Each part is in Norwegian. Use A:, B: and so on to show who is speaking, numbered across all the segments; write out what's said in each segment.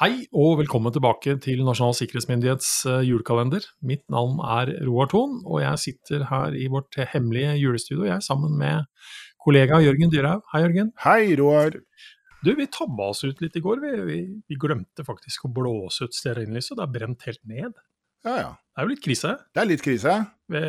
A: Hei og velkommen tilbake til Nasjonal sikkerhetsmyndighets eh, julekalender. Mitt navn er Roar Thon, og jeg sitter her i vårt hemmelige julestudio jeg sammen med kollega Jørgen Dyrhaug. Hei, Jørgen.
B: Hei, Roar.
A: Du, vi tabba oss ut litt i går. Vi, vi, vi glemte faktisk å blåse ut stearinlyset. Det er brent helt ned.
B: Ja, ja.
A: Det er jo litt krise.
B: Det er litt krise.
A: Vi,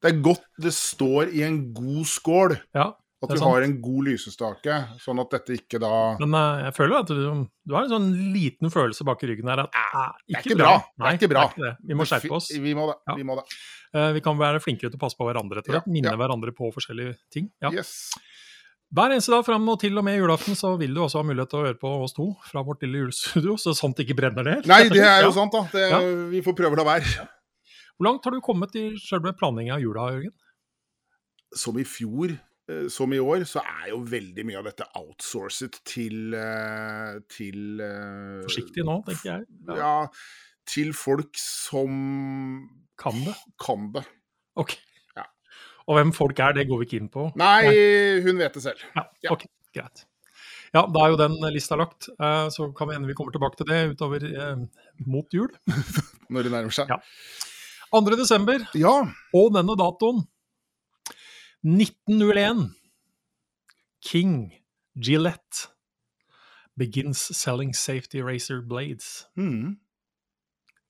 B: Det er godt det står i en god skål
A: ja.
B: at
A: Det er
B: du
A: sant.
B: har en god lysestake, sånn at dette ikke da
A: Men eh, jeg føler at du, du har en sånn liten følelse bak i ryggen her at eh,
B: er ikke bra. Det er
A: Nei,
B: ikke bra.
A: det. Vi må skjerpe oss.
B: Vi må det.
A: Ja.
B: Vi må det.
A: Eh, Vi kan være flinkere til å passe på hverandre etter
B: Ja,
A: hvert. Minne
B: ja.
A: hverandre på forskjellige ting. Ja.
B: Yes.
A: Hver eneste dag fram og til og med julaften så vil du også ha mulighet til å høre på oss to fra vårt lille julestudio, så sant det ikke brenner ned.
B: Nei, det er jo sånn.
A: Ja.
B: sant, da. Det, Vi får prøve å la være.
A: Hvor langt har du kommet i selve planlegginga av jula, Jørgen?
B: Som i fjor, eh, som i år, så er jo veldig mye av dette outsourcet til eh, Til eh,
A: Forsiktig nå, tenker jeg. Ja.
B: Ja, til folk som
A: Kan det?
B: kan det.
A: Ok.
B: Ja.
A: Og hvem folk er, det går vi ikke inn på.
B: Nei, hun vet det selv.
A: Ja,
B: Ja.
A: ok, greit. Ja, da er jo den lista lagt. eh, Så kan vi hende vi kommer tilbake til det utover eh, mot jul.
B: Når det nærmer seg.
A: Ja. 2. desember,
B: ja.
A: og denne datoen 1901 King Gillette begins selling safety razor blades.
B: Mhm.
A: God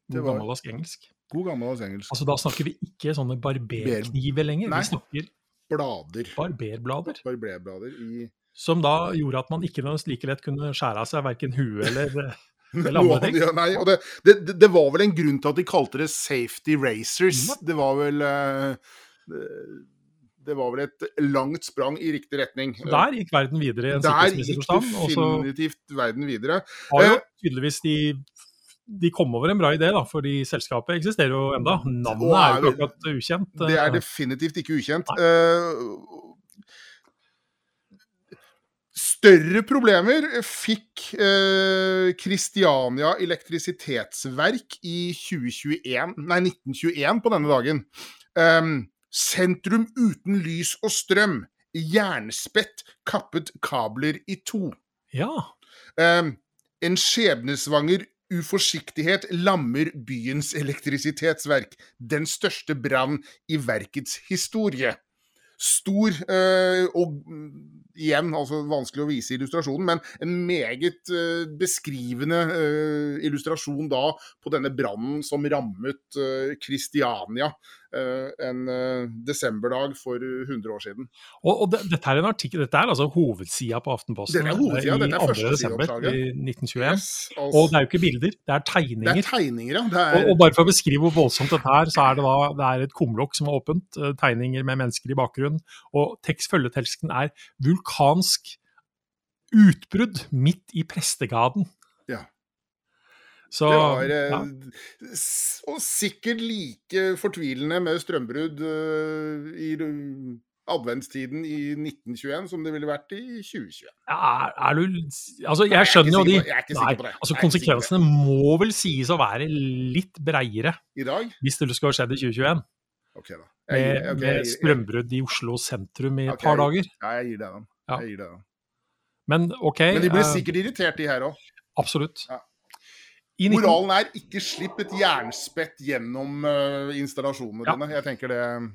B: Det var-
A: Gammeldags engelsk.
B: God gammeldags engelsk.
A: Altså, da snakker vi ikke sånne barberkniver lenger.
B: Nei.
A: Vi snakker
B: Blader.
A: barberblader.
B: Barberblader i
A: Som da gjorde at man ikke nødvendigvis like lett kunne skjære av seg verken huet eller eh, Eller andre ting.
B: ja, Nei, og det, det, det- det var vel en grunn til at de kalte det safety
A: Mm,
B: racers. Det var vel eh, det- Det var vel et langt sprang i riktig retning.
A: Så Der gikk verden videre i en
B: Der gikk
A: sikkerhetsmessig
B: Eh.
A: forstand. Og så
B: definitivt verden videre.
A: har jo tydeligvis de de kom over en bra idé, da, fordi selskapet eksisterer jo enda. Navnet
B: Og
A: er jo ikke
B: er-
A: akkurat ukjent.
B: Det er
A: eh,
B: definitivt ikke ukjent. Eh, større problemer fikk eh, Kristiania elektrisitetsverk i 2021, nei, 1921 på denne dagen. Em, sentrum uten lys og strøm. Jernspett kappet kabler i to.
A: Ja,
B: Em, Ehm, en skjebnesvanger uforsiktighet lammer byens elektrisitetsverk. Den største brann i verkets historie. Stor eh, og mm, igjen, altså vanskelig å vise illustrasjonen, men en meget eh, beskrivende eh, illustrasjon da på denne brannen som rammet eh, Kristiania eh, en eh, desemberdag for 100 år siden.
A: og, og det, dette er en artikkel, dette er altså hovedsida på Aftenposten
B: Dette er
A: eh,
B: hovedsida,
A: i
B: dette
A: 2.
B: er første
A: desember
B: sideoppslaget.
A: i 1921.
B: Yes, altså,
A: Og det er jo ikke bilder, det er
B: det
A: tegninger.
B: er tegninger, ja. Det er,
A: og, og bare for å beskrive hvor voldsomt dette er, så er det da det er et kumlokk som er åpent, eh, tegninger med mennesker i bakgrunnen, og tekst- følgeteksten er 'Vulkansk utbrudd midt i prestegaden'.
B: Ja.
A: Så,
B: Det var eh,
A: ja.
B: s- Og sikkert like fortvilende med strømbrudd eh, i ru- adventstiden i 1921 som det ville vært i 2021.
A: Er, er du Altså,
B: Nei, jeg er
A: jeg skjønner
B: ikke
A: jo de
B: sikker på- jeg er ikke sikker på det.
A: Altså,
B: Jeg er ikke sikker på det.
A: konsekvensene må vel sies å være litt breiere
B: I dag?
A: hvis det skulle ha skjedd i 2021,
B: Ok, da.
A: med,
B: Jeg gir- ok, jeg
A: med
B: gir-
A: strømbrudd i Oslo sentrum i et
B: Ok,
A: par
B: jeg-
A: dager.
B: Ja, jeg gir deg den.
A: Ja.
B: Jeg gir deg den.
A: Men OK,
B: Men de blir
A: eh,
B: sikkert irritert, de her òg.
A: absolutt.
B: Ja.
A: I 19...
B: Moralen er ikke slipp et jernspett gjennom eh, installasjonene
A: Ja.
B: dine. Jeg tenker det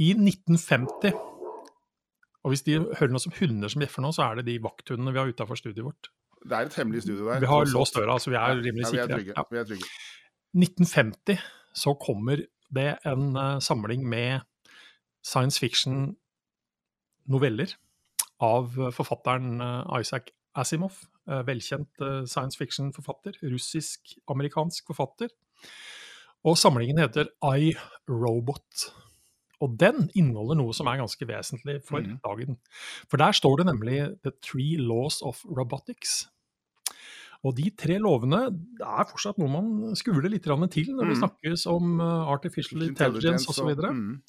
A: I 1950 Og hvis de hører noe som hunder som bjeffer nå, så er det de vakthundene vi har utafor studioet vårt.
B: Det er et hemmelig studio der.
A: Vi har
B: tross alt.
A: låst døra, så vi er rimelig
B: Ja, vi er
A: sikre.
B: trygge.
A: Ja.
B: Vi er trygge.
A: 1950 så kommer det en eh, samling med science fiction-noveller av eh, forfatteren eh, Isaac Asimov. eh, Velkjent eh, science fiction-forfatter. Russisk-amerikansk forfatter. Og samlingen heter I, Robot. Og den inneholder noe som er ganske vesentlig for
B: Mhm.
A: dagen. For der står det nemlig The Three Laws of Robotics. Og de tre lovene det er fortsatt noe man skuler litt grann til når det
B: Mhm.
A: snakkes om eh, artificial intelligence osv. Og,
B: Mm.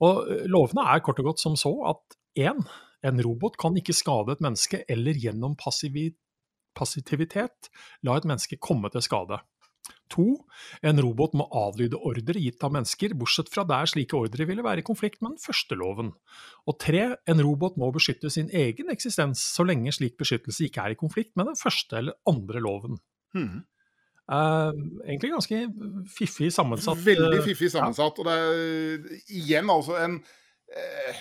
A: og eh, lovene er kort og godt som så at én, en robot kan ikke skade et menneske eller gjennom passivi- passivitet la et menneske komme til skade. 2. En robot må avlyde ordre gitt av mennesker, bortsett fra der slike ordre ville være i konflikt med den første loven. Og 3. En robot må beskytte sin egen eksistens så lenge slik beskyttelse ikke er i konflikt med den første eller andre loven.
B: Mhm.
A: Eh, egentlig ganske fiffig sammensatt.
B: Veldig
A: eh,
B: fiffig sammensatt. Og det er igjen altså en eh,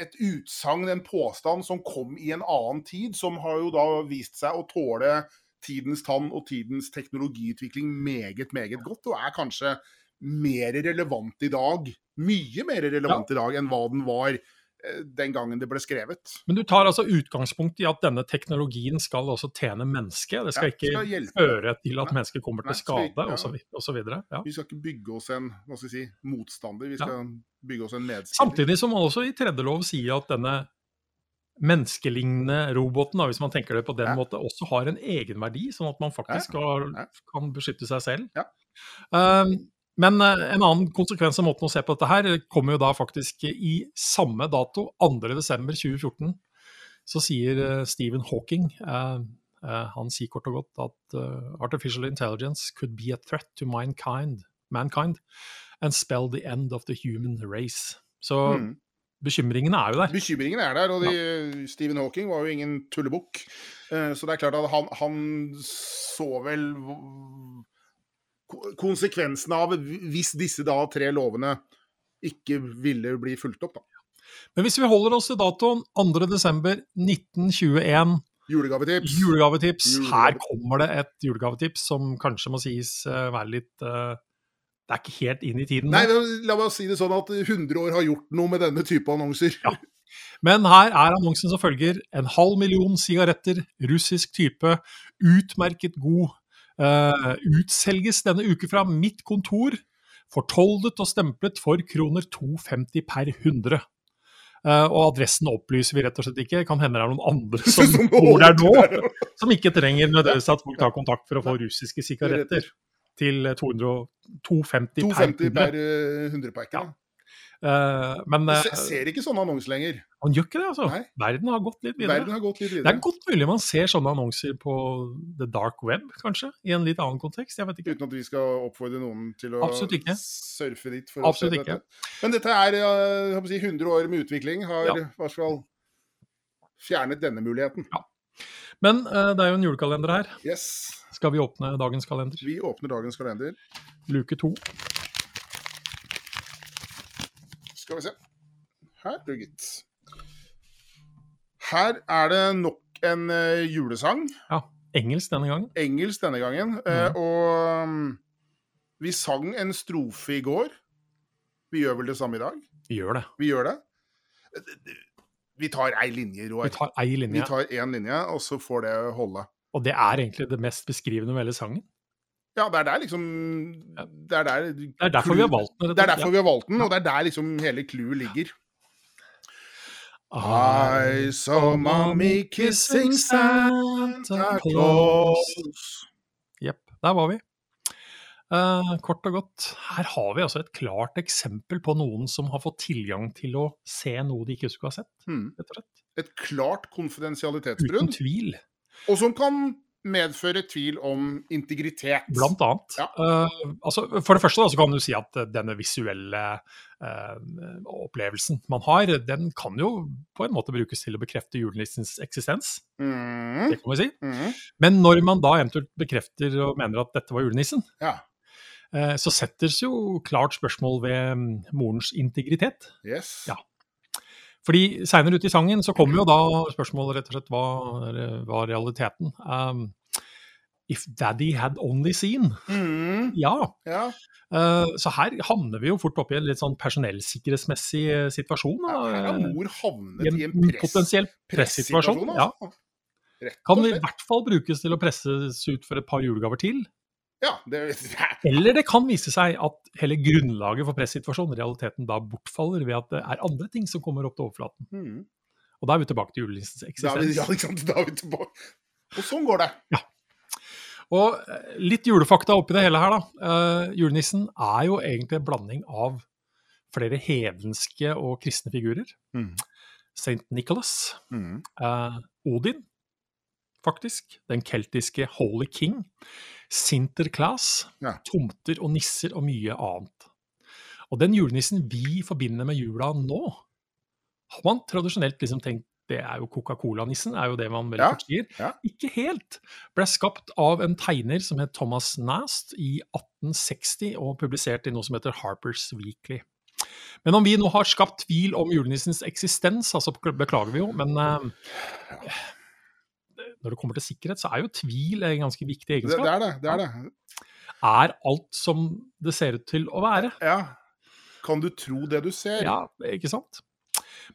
B: et utsagn, en påstand, som kom i en annen tid, som har jo da vist seg å tåle tidens tann og tidens teknologiutvikling meget, meget godt, og er kanskje mer relevant i dag, mye mer relevant i dag enn hva den var eh, den gangen det ble skrevet.
A: Men du tar altså utgangspunkt i at denne teknologien skal også tjene mennesket. Det skal
B: Ja,
A: ikke
B: skal hjelpe.
A: føre til at
B: Nei.
A: mennesket kommer
B: Nei,
A: til
B: skal ikke,
A: skade
B: ja.
A: osv. Ja.
B: Vi skal ikke bygge oss en hva skal jeg si, motstander, vi
A: Ja.
B: skal bygge oss en medspiller.
A: Samtidig som man også i tredje lov sier at denne menneskelignende roboten, da, hvis man tenker det på den
B: Ja.
A: måten, også har en egenverdi, sånn at man faktisk har,
B: Ja.
A: kan beskytte seg selv.
B: Ja.
A: Um, men eh, en annen konsekvens av måten å se på dette her, kommer jo da faktisk i samme dato, 2.12.2014, så sier eh, Stephen Hawking eh, eh, Han sier kort og godt at eh, artificial intelligence could be a threat to mankind, mankind and spell the end of the human race. Så
B: Mhm.
A: bekymringene er jo der.
B: Bekymringen er der, og de, Stephen Hawking var jo ingen tullebukk. Eh, Så det er klart at han, han så vel v- ko- konsekvensen av hvis disse da tre lovene ikke ville bli fulgt opp, da.
A: Men hvis vi holder oss til datoen 2.12.1921,
B: Julegavetips.
A: julegavetips. Her
B: Julegave.
A: kommer det et julegavetips som kanskje må sies eh, være litt eh, Det er ikke helt inn i tiden.
B: Nei,
A: nå.
B: men la meg si det sånn at 100 år har gjort noe med denne type annonser.
A: Men her er annonsen som følger. En halv million sigaretter, russisk type, utmerket god. eh, utselges denne uke fra mitt kontor, fortoldet og stemplet for kroner 2,50 per 100. Eh, og adressen opplyser vi rett og slett ikke. Kan hende det er noen andre som, bor der nå, som ikke trenger nødvendigvis at folk tar kontakt for å få russiske sigaretter til 200, og- 250 per
B: 250
A: 100.
B: per eh, 100-pakke.
A: Ja. Eh, men eh,
B: Se- Ser ikke sånne annonser lenger.
A: han gjør ikke det, altså.
B: Nei.
A: Verden har gått litt videre.
B: Verden har gått litt
A: Det er
B: videre.
A: godt mulig man ser sånne annonser på the dark web, kanskje? I en litt annen kontekst, jeg vet ikke.
B: Uten at vi skal oppfordre noen til å
A: Absolutt ikke.
B: surfe dit. For
A: Absolutt
B: å se Dette. Men dette er eh, jeg håper å si, 100 år med utvikling, har
A: Ja.
B: i hvert fall fjernet denne muligheten.
A: Men eh, det er jo en julekalender her.
B: Yes.
A: Skal vi åpne dagens kalender?
B: Vi åpner dagens kalender.
A: Luke to.
B: Skal vi se. Her, du gitt. Her er det nok en eh, julesang.
A: Engelsk denne gangen.
B: Engelsk denne gangen. eh, og mm, vi sang en strofe i går. Vi gjør vel det samme i dag?
A: Vi gjør det.
B: Vi gjør det. Eh, Vi tar ei linje, Roar.
A: Vi tar ei
B: Vi
A: linje.
B: tar én linje, og så får det holde.
A: Og det er egentlig det mest beskrivende med hele sangen.
B: Ja, det er der liksom Det er, der,
A: Det er derfor vi har valgt den.
B: det er derfor vi har valgt den, og det er der liksom hele clouet ligger.
A: Ah,
B: I saw mommy kissing Santa Claus.
A: Jepp, der var vi. Eh, kort og godt, her har vi altså et klart eksempel på noen som har fått tilgang til å se noe de ikke skulle ha sett,
B: Hmm.
A: rett og slett.
B: Et klart
A: Uten
B: konfidensialitetsbrudd,
A: tvil,
B: og som kan medføre tvil om integritet.
A: blant annet.
B: Ja.
A: Eh, altså, for det første da, så kan du si at eh, denne visuelle eh, opplevelsen man har, den kan jo på en måte brukes til å bekrefte julenissens eksistens,
B: Mhm,
A: det kan vi si.
B: mhm.
A: Men når man da eventuelt bekrefter og mener at dette var julenissen,
B: Ja.
A: eh, så settes jo klart spørsmål ved mm, morens integritet.
B: Yes.
A: Ja. Fordi seinere ute i sangen så kommer jo da spørsmålet rett og slett hva var realiteten. Um, if daddy had only seen.
B: Mhm,
A: Ja.
B: ja.
A: eh, så her havner vi jo fort opp i en litt sånn personellsikkerhetsmessig eh, situasjon.
B: ja. Her
A: Da,
B: har
A: eh,
B: mor
A: i
B: havnet i en
A: en
B: press,
A: potensiell pressituasjon.
B: pressituasjon.
A: Ja.
B: altså. Rett
A: Kan
B: og
A: i
B: slett.
A: hvert fall brukes til å presses ut for et par julegaver til.
B: Ja, det, det er
A: Eller det kan vise seg at hele grunnlaget for pressituasjonen, realiteten, da bortfaller ved at det er andre ting som kommer opp til overflaten.
B: Mhm.
A: Og da er vi tilbake til julelistens
B: Da er vi,
A: eksistens.
B: ja, ikke sant? Da er vi tilbake. Og sånn går det.
A: Og eh, litt julefakta oppi det hele her, da. Eh, julenissen er jo egentlig en blanding av flere hedenske og
B: Mm,
A: kristne figurer. St. Nicholas, eh, Odin, faktisk. Den keltiske Holy King. Sinterklaas.
B: Ja.
A: Tomter og nisser og mye annet. Og den julenissen vi forbinder med jula nå, har man tradisjonelt liksom tenkt det er jo Coca-Cola-nissen, er jo det man veldig
B: Ja,
A: fort sier.
B: ja.
A: Ikke helt. Ble skapt av en tegner som het Thomas Nast i 1860, og publisert i noe som heter Harper's Weekly. Men om vi nå har skapt tvil om julenissens eksistens, altså beklager vi jo, men eh, når det kommer til sikkerhet, så er jo tvil en ganske viktig
B: Det,
A: egenskap.
B: det er det. det er det.
A: Er alt som det ser ut til å være?
B: Ja. Kan du tro det du ser?
A: Ja, ikke sant?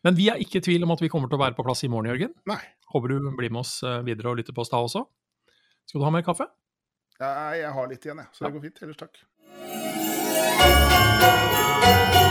A: Men vi er ikke i tvil om at vi kommer til å være på plass i morgen, Jørgen.
B: Nei.
A: Håper du blir med oss eh, videre og lytter på oss da også. Skal du ha mer kaffe?
B: Nei, Jeg har litt igjen, jeg. Så det går fint. Ellers takk.